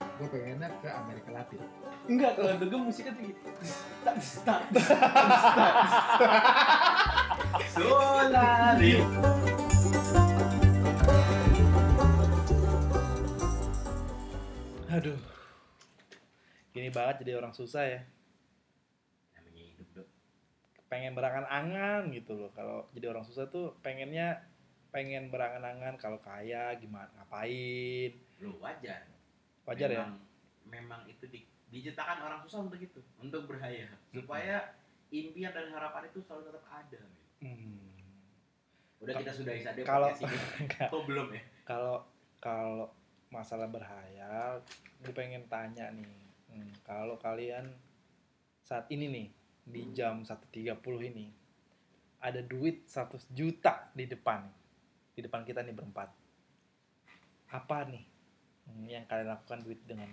gue pengennya ke Amerika Latin Enggak, kalau untuk gue musiknya tuh gitu. Tak, tak, tak. Sonari. Aduh. Gini banget jadi orang susah ya. Namanya hidup dok. Pengen berangan-angan gitu loh. Kalau jadi orang susah tuh pengennya pengen berangan-angan kalau kaya gimana ngapain. Lu wajar. Wajar ya? memang, Memang itu di, diciptakan orang susah untuk itu, untuk berhayal Hmm. supaya impian dan harapan itu selalu tetap ada. men. Hmm. Udah kita sudahi saja Kalau- podcast ini. Enggak. Kok belum ya? Kalau kalau masalah berhayal, gue pengen tanya nih. Hmm, kalau kalian saat ini nih di jam 1.30 ini ada duit 100 juta di depan di depan kita nih berempat. Apa nih hmm, yang kalian lakukan duit dengan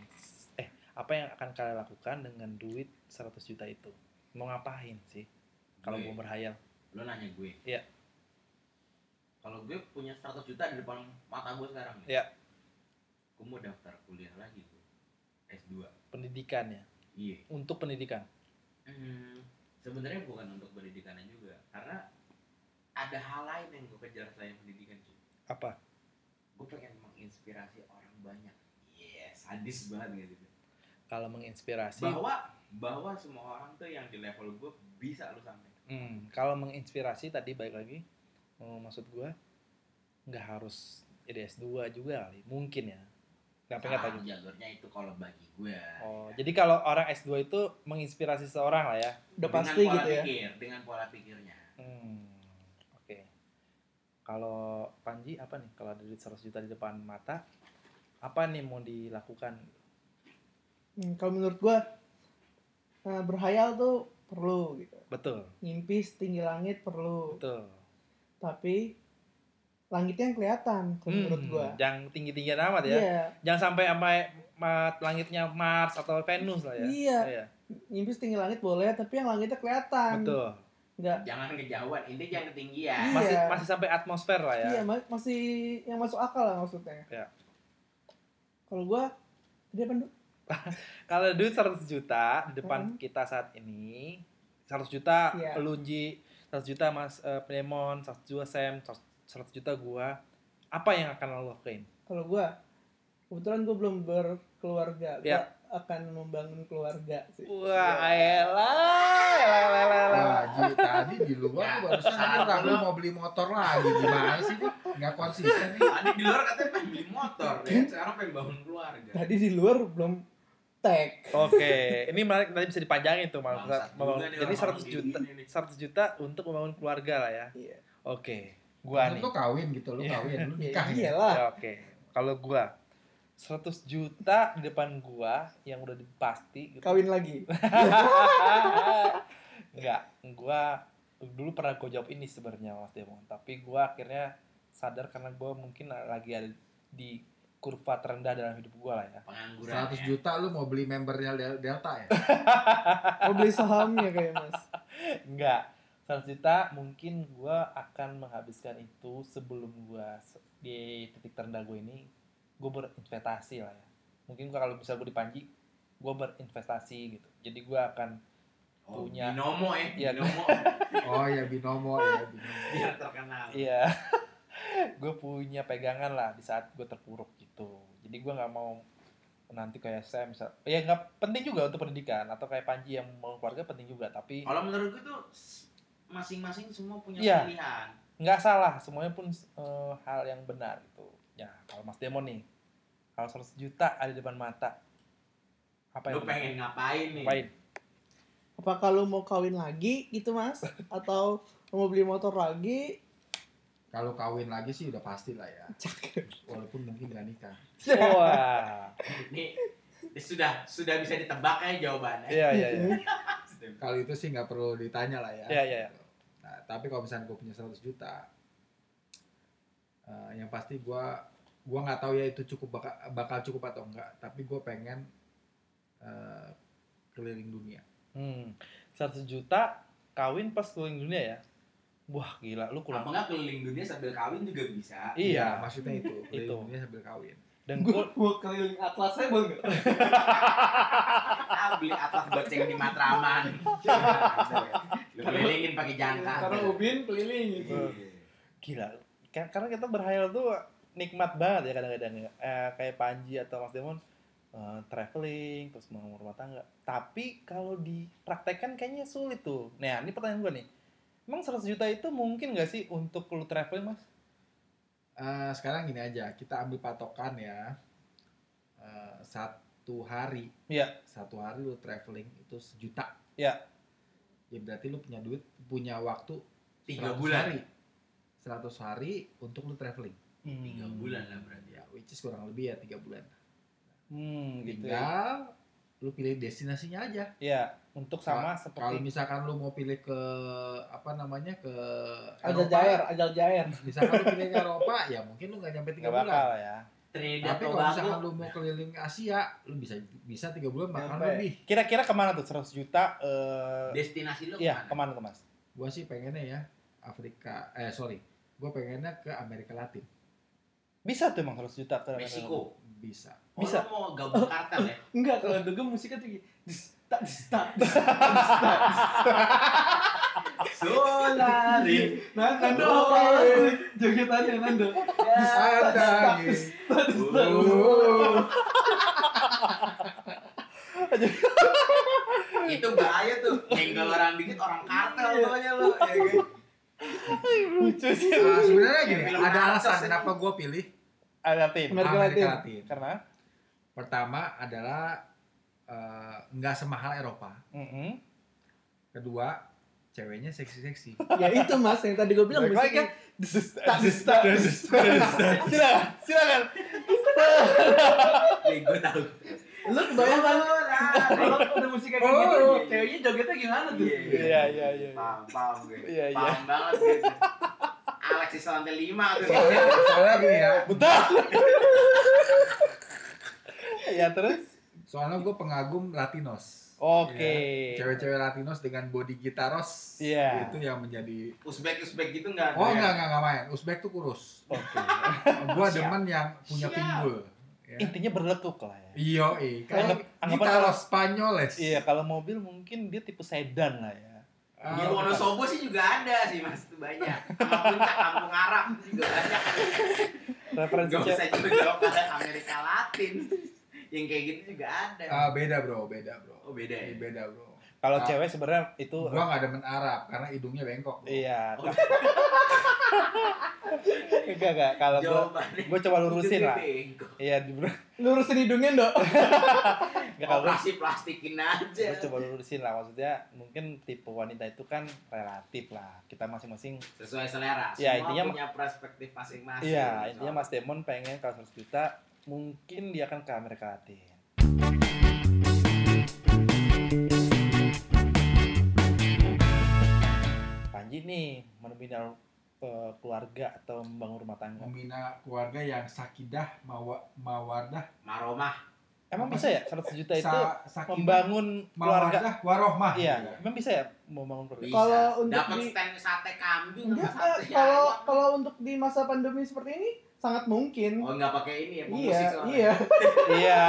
eh apa yang akan kalian lakukan dengan duit 100 juta itu? Mau ngapain sih kalau Gue. mau berhayal? Lu nanya gue. Iya. Kalau gue punya 100 juta di depan mata gue sekarang nih. Iya. Gue mau daftar kuliah lagi gue. S2. Pendidikan ya. Iya. Untuk pendidikan. Hmm, sebenarnya bukan untuk pendidikannya juga, karena ada hal lain yang gue kejar selain pendidikan cuy. Apa? Gue pengen menginspirasi orang banyak. Yes, sadis banget gitu. Kalau menginspirasi Bahwa bahwa semua orang tuh yang di level gue bisa lu sampai. Hmm, kalau menginspirasi tadi baik lagi, eh, maksud gua nggak harus jadi S2 juga kali, mungkin ya. Kenapa nggak tahu? Ah, jalurnya itu kalau bagi gue. Oh, jadi kalau orang S2 itu menginspirasi seorang lah ya. Udah pasti pola gitu ya. Pikir, dengan pola pikirnya. Hmm, oke. Kalau Panji apa nih? Kalau ada duit 100 juta di depan mata, apa nih mau dilakukan? Hmm, kalau menurut gua eh, berhayal tuh perlu gitu. Betul, Mimpi setinggi langit perlu, betul. tapi langitnya yang kelihatan kalau menurut Hmm, gua. Jangan tinggi-tinggi amat ya. Iya, Jangan sampai sampai ma- langitnya Mars atau Venus lah ya. iya. Iya, Mimpi setinggi langit boleh, tapi yang langitnya kelihatan. betul. Nggak. Jangan kejauhan, ini jangan ketinggian. Iya. masih masih sampai atmosfer lah ya. Iya, ma- masih yang masuk akal lah maksudnya. Iya. Kalau gua dia apa? Nduk? Kalau duit 100 juta di depan kita saat ini 100 juta Iya. Luji, 100 juta Mas eh, Plemon, 100 juta Sam, 100 juta gua. Apa yang akan lo lakuin? Kalau gua kebetulan gua belum berkeluarga. Iya. Gua akan membangun keluarga sih. Wah, Iya. elah, elah, elah, elah, elah. Wah, Ji, tadi di luar Ya, lu barusan saat ini Rabu lu- mau beli motor lagi gimana sih nih nggak konsisten nih Tadi di luar katanya pengen beli motor, ya. sekarang pengen bangun keluarga. Tadi di luar belum tag. Oke, ini menarik nanti bisa dipanjangin tuh Mas. Bangsat Membangun- juga nih Jadi orang-orang 100 kayak juta, gini nih. 100 juta untuk membangun keluarga lah ya. Iya. Oke, gua nih. lu kawin gitu lu Iya. kawin lu Ya, nikah ya iyalah. Ya, Oke, kalau gua 100 juta di depan gua yang udah pasti gitu. Kawin lagi. Enggak, gua dulu pernah gue jawab ini sebenarnya Mas Demon, tapi gua akhirnya sadar karena gua mungkin lagi ada di kurva terendah dalam hidup gua lah ya. Pengangguran. 100 ya. juta lu mau beli membernya Del- Delta ya Mau beli sahamnya kayak Mas. Enggak, 100 juta mungkin gua akan menghabiskan itu sebelum gua se- di titik terendah gue ini gue berinvestasi lah ya. Mungkin gua kalau bisa gue dipanji, gua berinvestasi gitu. Jadi gua akan Oh, Punya. binomo ya, Iya. binomo. oh ya binomo ya binomo Biar terkenal. Iya. gue punya pegangan lah di saat gue terpuruk gitu. Jadi gue nggak mau nanti kayak saya misal, ya nggak penting juga untuk pendidikan atau kayak Panji yang mau keluarga penting juga, tapi Kalau menurut gue tuh s- masing-masing semua punya Iya. pilihan. nggak salah, semuanya pun eh, hal yang benar gitu. Ya kalau Mas Demon nih, kalau 100 juta ada di depan mata, apa yang Lu pengen ngapain nih? ngapain? Apakah lu mau kawin lagi gitu Mas? Atau lu mau beli motor lagi? kalau kawin lagi sih udah pasti lah ya Cakep. walaupun mungkin nggak nikah Wah, Nih, ini sudah sudah bisa ditebak ya jawabannya. iya iya iya. Sudah- kalau itu sih nggak perlu ditanya lah ya Iya, iya, iya. Nah, tapi kalau misalnya gue punya 100 juta eh, yang pasti gue gua nggak tahu ya itu cukup bakal, bakal cukup atau enggak tapi gue pengen eh, keliling dunia Hmm, 100 juta kawin pas keliling dunia ya. Wah gila, lu kurang. Apa nggak keliling dunia sambil kawin juga bisa? Ya, Iya. maksudnya itu keliling Itu. dunia sambil kawin dengkul Gue keliling atlas saya boleh nggak? Ah, beli atlas goceng di Matraman. Iya, ya. Lu kelilingin pakai Iya, Iya. jangka. Karena Ubin keliling gitu. Iya. gila Ka- karena kita berhayal tuh nikmat banget ya kadang-kadang ya. Eh, kayak Panji atau Mas Demon eh, traveling terus mau rumah tangga tapi kalau dipraktekkan kayaknya sulit tuh nah ini pertanyaan gue nih emang 100 juta itu mungkin gak sih untuk lu traveling mas Eh, sekarang gini aja, kita ambil patokan ya. Eh, satu hari. Iya. Satu hari lu traveling itu sejuta. Iya. Ya berarti lu punya duit, punya waktu Tiga 100 bulan. Hari. 100 hari untuk lu traveling. Tiga bulan lah berarti. Ya, which is kurang lebih ya tiga bulan. hmm gitu ya. Tinggal lu pilih destinasinya aja. Iya, untuk Kalau sama seperti misalkan lu mau pilih ke apa namanya ke Ajal Jair, Ajal Jair. misalkan lu pilih ke Eropa, ya mungkin lu nggak nyampe tiga nggak bulan. bakal ya Trinidad Tapi kalau misalkan Tobago. lu mau keliling Asia, lu bisa bisa tiga bulan bahkan Nyampe. lebih. kira-kira kemana tuh 100 juta eh Destinasi lu iya kemana? kemana tuh mas Gua sih pengennya ya Afrika, eh sorry, gua pengennya ke Amerika Latin. bisa tuh emang 100 juta ke Meksiko. Bisa. Oh, Bisa. lu mau gabung kartel ya? Enggak, kalau dugem musiknya tuh gini. Dis, tak, dis, tak, dis, tak, dis, tak, dis, Solarin. Nah, Nando apa? iya. Jogetannya Nando. Dis, tak, dis, tak, dis, tak, dis, tak. itu bahaya tuh nyenggol orang dikit orang kartel Iya. pokoknya lu ya kan? lucu sih Nah, Iya, sebenarnya gini, Film ada Marcos alasan ini. kenapa gua pilih ada tim Amerika Amerika Latin. Latin. Eh, karena Pertama adalah eh, nggak semahal Eropa. mm Kedua, ceweknya seksi-seksi. Ya itu mas, yang tadi gue bilang Balik lagi musiknya. kan? This is- Tak, this is- tak, this is- silakan silakan Nih, gua tahu Lu kebayang kan? Kalau Solarin. udah musiknya kayak Oh, gitu, iya. ceweknya jogetnya gimana tuh? Iya, iya, iya. Paham, paham gue. Iya, iya. Paham banget gue. Alexis lantai lima tuh. Soalnya, soalnya gini ya, bentar ya terus soalnya gue pengagum Latinos. oke Ya, Cewek-cewek Latinos dengan body gitaros Iya. itu yang menjadi Uzbek Uzbek gitu nggak? Oh enggak enggak enggak main. Uzbek tuh kurus. oke Gua demen yang punya Siap. pinggul. Ya. intinya berlekuk lah ya Iyo, eh. Kalau Anggap- anggapan gitaros kalau- Spanyoles. iya kalau mobil mungkin dia tipe sedan lah ya Ah, Di Wonosobo sih juga ada sih mas, itu banyak. Sama puncak kampung Arab juga banyak. referensi Gak cewek Iya. usah jauh-jauh ke Amerika Latin. Yang kayak gitu juga ada. ah, beda bro, beda bro. Oh beda ya. Iya, Beda bro. kalau Ah. cewek sebenarnya itu Gua nggak demen Arab karena hidungnya bengkok. bro. iya Oh, enggak enggak kalau Oh, gua Jawabannya. gua coba lurusin lah Bengkok. iya di enggak Lurusin hidungnya, Dok. kalau gua- Operasi plastikin gue aja. coba lurusin lah maksudnya mungkin tipe wanita itu kan relatif lah kita masing-masing Sesuai selera. Ya, Semua intinya- punya perspektif masing-masing. iya intinya Mas Demon pengen kalau 100 juta mungkin dia akan ke Amerika Latin Panji nih membina eh, keluarga atau membangun rumah tangga Membina keluarga yang sakidah, mawa, mawardah, Maromah. emang bisa ya 100 juta itu sa, sakidah, membangun keluarga mawardah, warohmah. gitu kan. iya emang bisa ya membangun keluarga Bisa. Kalau untuk dapat di- stand sate kambing sama Enggak, eh, sate kalau ayam. kalau untuk di masa pandemi seperti ini sangat mungkin. Oh nggak pakai ini ya, pemusik iya, soalnya. iya. iya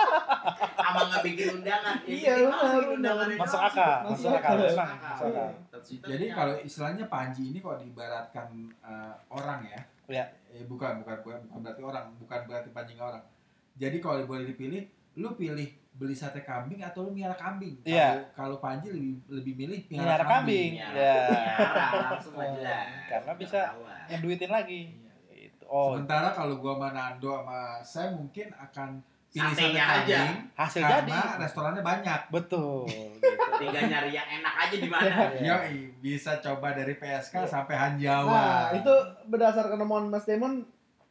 Sama nggak bikin undangan. Ya, Iya, bikin benar, banget benar. undangannya masuk doang. Iya. akal Masuk masuk akal akal. memang masuk akal Terus itu Jadi punya- kalau istilahnya Panji ini kalau diibaratkan eh, orang ya. Iya. Eh, bukan, bukan, bukan, bukan berarti orang, bukan berarti Panji nggak orang. Jadi kalau boleh dipilih, lu pilih beli sate kambing atau lu miara kambing. Kalau- Iya. Kalau Panji lebih lebih milih Miara kambing. Ya, Ya. langsung aja lah. Karena bisa- Ketahuan. ngeduitin lagi Iya. itu oh Sementara kalau gua sama Nando sama saya mungkin akan pilih sate Satenya aja. kambing hasil jadi karena restorannya banyak. betul gitu. Tinggal nyari yang enak aja di mana. Nah, Iya. Yo, bisa coba dari PSK sampai Hanjawa. Nah, itu berdasarkan omongan Mas Demon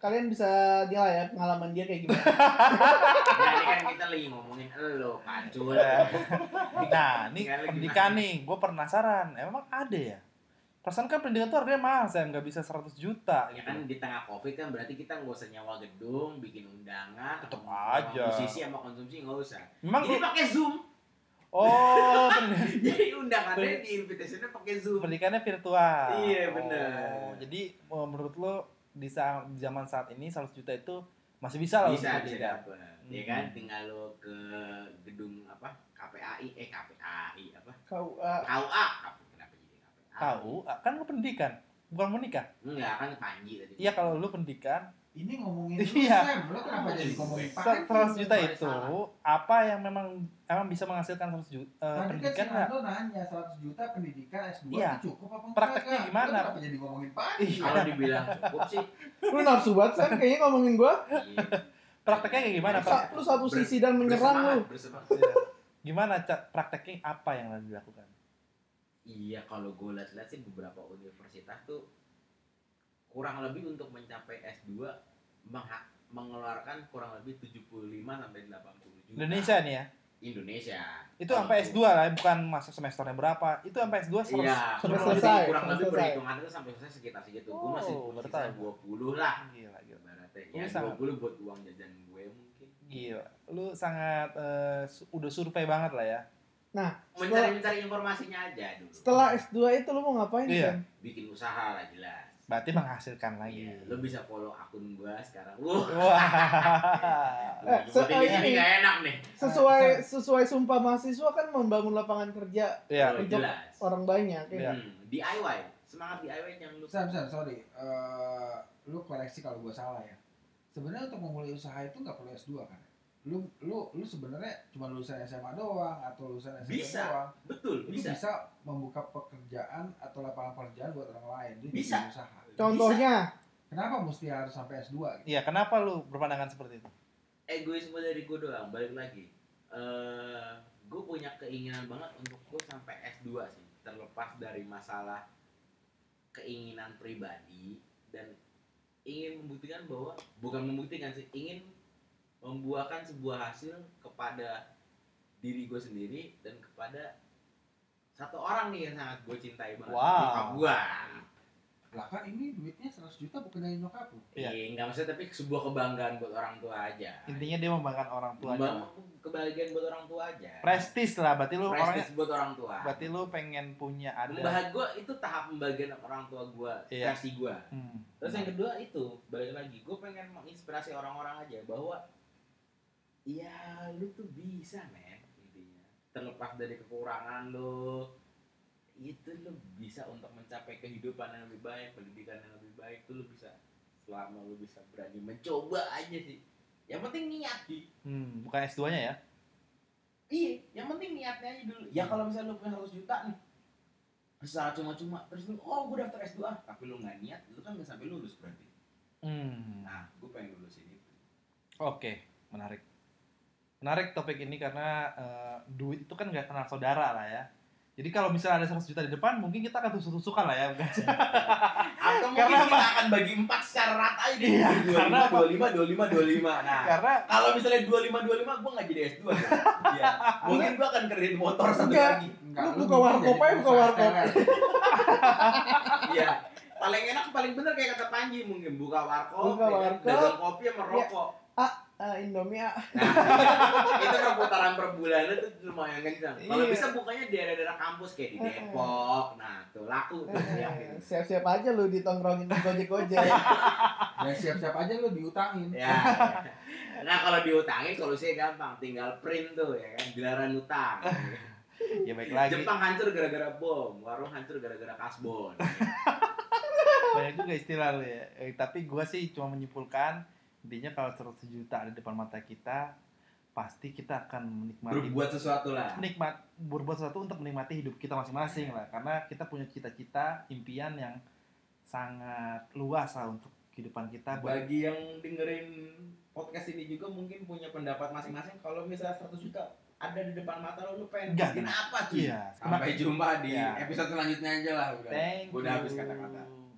kalian bisa nilai ya pengalaman dia kayak gimana. Jadi kan kita lagi ngomongin elo, pacul. Iya. nah ini Tinggal lagi pendidikan mana. nih gue penasaran emang ada ya perasaan kan pendidikan tuh harganya mahal saya nggak bisa 100 juta Ya gitu. kan di tengah covid kan berarti kita nggak usah nyawa gedung, bikin undangan, Tetep sama aja. Musisi sama konsumsi nggak usah. memang Jadi lu- pakai zoom. oh pendi- Jadi undangannya di invitationnya pakai zoom. pendidikannya virtual Iya, Oh, eh, bener. jadi oh, menurut lo di sa- di zaman saat ini 100 juta itu masih bisa lah bisa untuk bisa didapat. dapet ya kan Hmm. tinggal lo ke gedung apa KPAI eh KPAI apa KUA KUA kenapa jadi KPA tahu ah, kan lu pendidikan bukan menikah enggak kan Panji tadi iya kalau lu pendidikan Ini ngomongin lu, Iya. Sam, lu kenapa jadi ngomongin paket? 100 juta boleh itu salah. apa yang memang emang bisa menghasilkan 100 juta Tadi kan eh, si pendidikan nggak? Nando nanya 100 juta pendidikan S2 Iya. itu cukup apa enggak? Prakteknya Kak? Lu gimana? Kenapa jadi ngomongin paket? Iya. kalau dibilang cukup sih lu nafsu banget Sam kayaknya ngomongin gua iya. Prakteknya kayak gimana, Pak? Sa- lu satu sisi dan menyerang lu Bersemangat, bersemangat. gimana Cak? prakteknya apa yang lagi dilakukan Iya, kalau gue lihat-lihat sih beberapa universitas tuh kurang lebih untuk mencapai S2 mengha- mengeluarkan kurang lebih 75 sampai 80 juta. Indonesia nih ya Indonesia. itu sampai S2 lah bukan masuk semesternya berapa itu sampai S2 Iya, 100 sampai kurang lebih- selesai, Kurang sampai lebih selesai. perhitungan itu sampai selesai sekitar segitu. gue masih Oh, baru sekitar tahu. 20 lah. gila gila Ibaratnya Lu ya sangat- 20 buat uang jajan gue mungkin. gila lu sangat eh, su- udah survei banget lah ya Mencari-mencari informasinya aja dulu. setelah S2 itu lu mau ngapain Iya. Sam? bikin usaha lah jelas. berarti menghasilkan lagi Iya, lo bisa follow akun gue sekarang. Wah, wah Eh, so- ini, eh, ini ini. gak enak nih. Nah, sesuai sesuai sumpah mahasiswa kan membangun lapangan kerja Iya. Oh, Untuk jelas. orang banyak ya. Iya. Hmm, DIY, semangat DIY yang lu Sam, Sam, sorry. Eh, lu koreksi kalau gua salah ya. Sebenarnya untuk memulai usaha itu nggak perlu S2 kan? Lu lu lu sebenarnya cuma lulusan SMA doang atau lulusan SMA Bisa. doang. betul Lu bisa. bisa. membuka pekerjaan atau lapangan pekerjaan buat orang lain. Lu Bisa. jadi usaha. contohnya Kenapa mesti harus sampai S2 gitu? Iya, kenapa lu berpandangan seperti itu? Bisa. egoisme dari gue doang. Balik lagi, Eh, gue punya keinginan banget untuk gue sampai S2 sih, terlepas dari masalah keinginan pribadi dan ingin membuktikan bahwa bukan membuktikan sih, ingin membuahkan sebuah hasil kepada diri gue sendiri dan kepada satu orang nih yang sangat gue cintai banget, Wow. nyokap gue. Lah kan ini duitnya 100 juta bukan dari nyokap lu. Iya. Iya, nggak maksudnya tapi sebuah kebanggaan buat orang tua aja. Intinya dia membanggakan orang tua. Membangun kebahagiaan buat orang tua aja. Prestis lah, berarti lu orangnya Prestis buat orang tua. berarti lu pengen punya ada Membahas gue itu tahap pembagian orang tua gue, Iya. versi gue. Hmm. Terus yang kedua itu balik lagi, gue pengen menginspirasi orang-orang aja bahwa Iya, lu tuh bisa men intinya. Terlepas dari kekurangan lu, itu lu bisa untuk mencapai kehidupan yang lebih baik, pendidikan yang lebih baik tuh lu bisa selama lu bisa berani mencoba aja sih. Yang penting niat sih. Hmm, bukan S2-nya ya. Iya, yang penting niatnya aja dulu. Ya kalau misalnya lu punya 100 juta nih, secara cuma-cuma terus lu oh gue daftar S2 ah." tapi lu nggak niat lu kan nggak sampai lulus berarti Hmm. nah gue pengen lulusin itu Oke, menarik. Menarik topik ini karena eh, duit itu kan gak kenal saudara lah ya. Jadi kalau misalnya ada 100 juta di depan, mungkin kita akan tusuk-tusukan lah ya. atau mungkin Karena kita akan bagi empat secara rata aja Iya, karena apa? Iya. dua lima dua lima dua lima nah Karena kalau misalnya dua lima dua lima gue nggak jadi S dua ya. mungkin gue akan kredit motor satu Enggak. lagi Enggak, Lu buka mungkin warkop jadi aja, buka pengusaha warkop. teler. iya paling enak paling bener kayak kata Panji mungkin buka warkop, Buka ya kan? warkop. dagang kopi Iya. sama rokok eh, Indomie ah. Nah, itu perputaran per bulannya tuh lumayan kencang. Kalau Iya. bisa bukanya di daerah-daerah kampus kayak di Heeh. Depok. Nah, tuh laku tuh Iya. gitu. Eh, yang ini. siap-siap aja lu ditongkrongin di gojek-gojek Dan siap-siap aja lu diutangin. Ya. Nah, kalau diutangin solusinya gampang, tinggal print tuh ya kan, gelaran utang. ya baik lagi. Jepang hancur gara-gara bom, warung hancur gara-gara kasbon. Banyak juga istilah lu ya. Eh, tapi gua sih cuma menyimpulkan intinya kalau 100 juta ada di depan mata kita, pasti kita akan menikmati Berbuat sesuatu lah. menikmat berbuat sesuatu untuk menikmati hidup kita masing-masing lah karena kita punya cita-cita impian yang sangat luas lah untuk kehidupan kita buat Bagi yang dengerin podcast ini juga mungkin punya pendapat masing-masing kalau misalnya 100 juta ada di depan mata lo, lu pengen Enggak. bikin apa cuy? iya Sampai jumpa di Iya. episode selanjutnya aja lah udah. thank Gua udah you. habis kata-kata.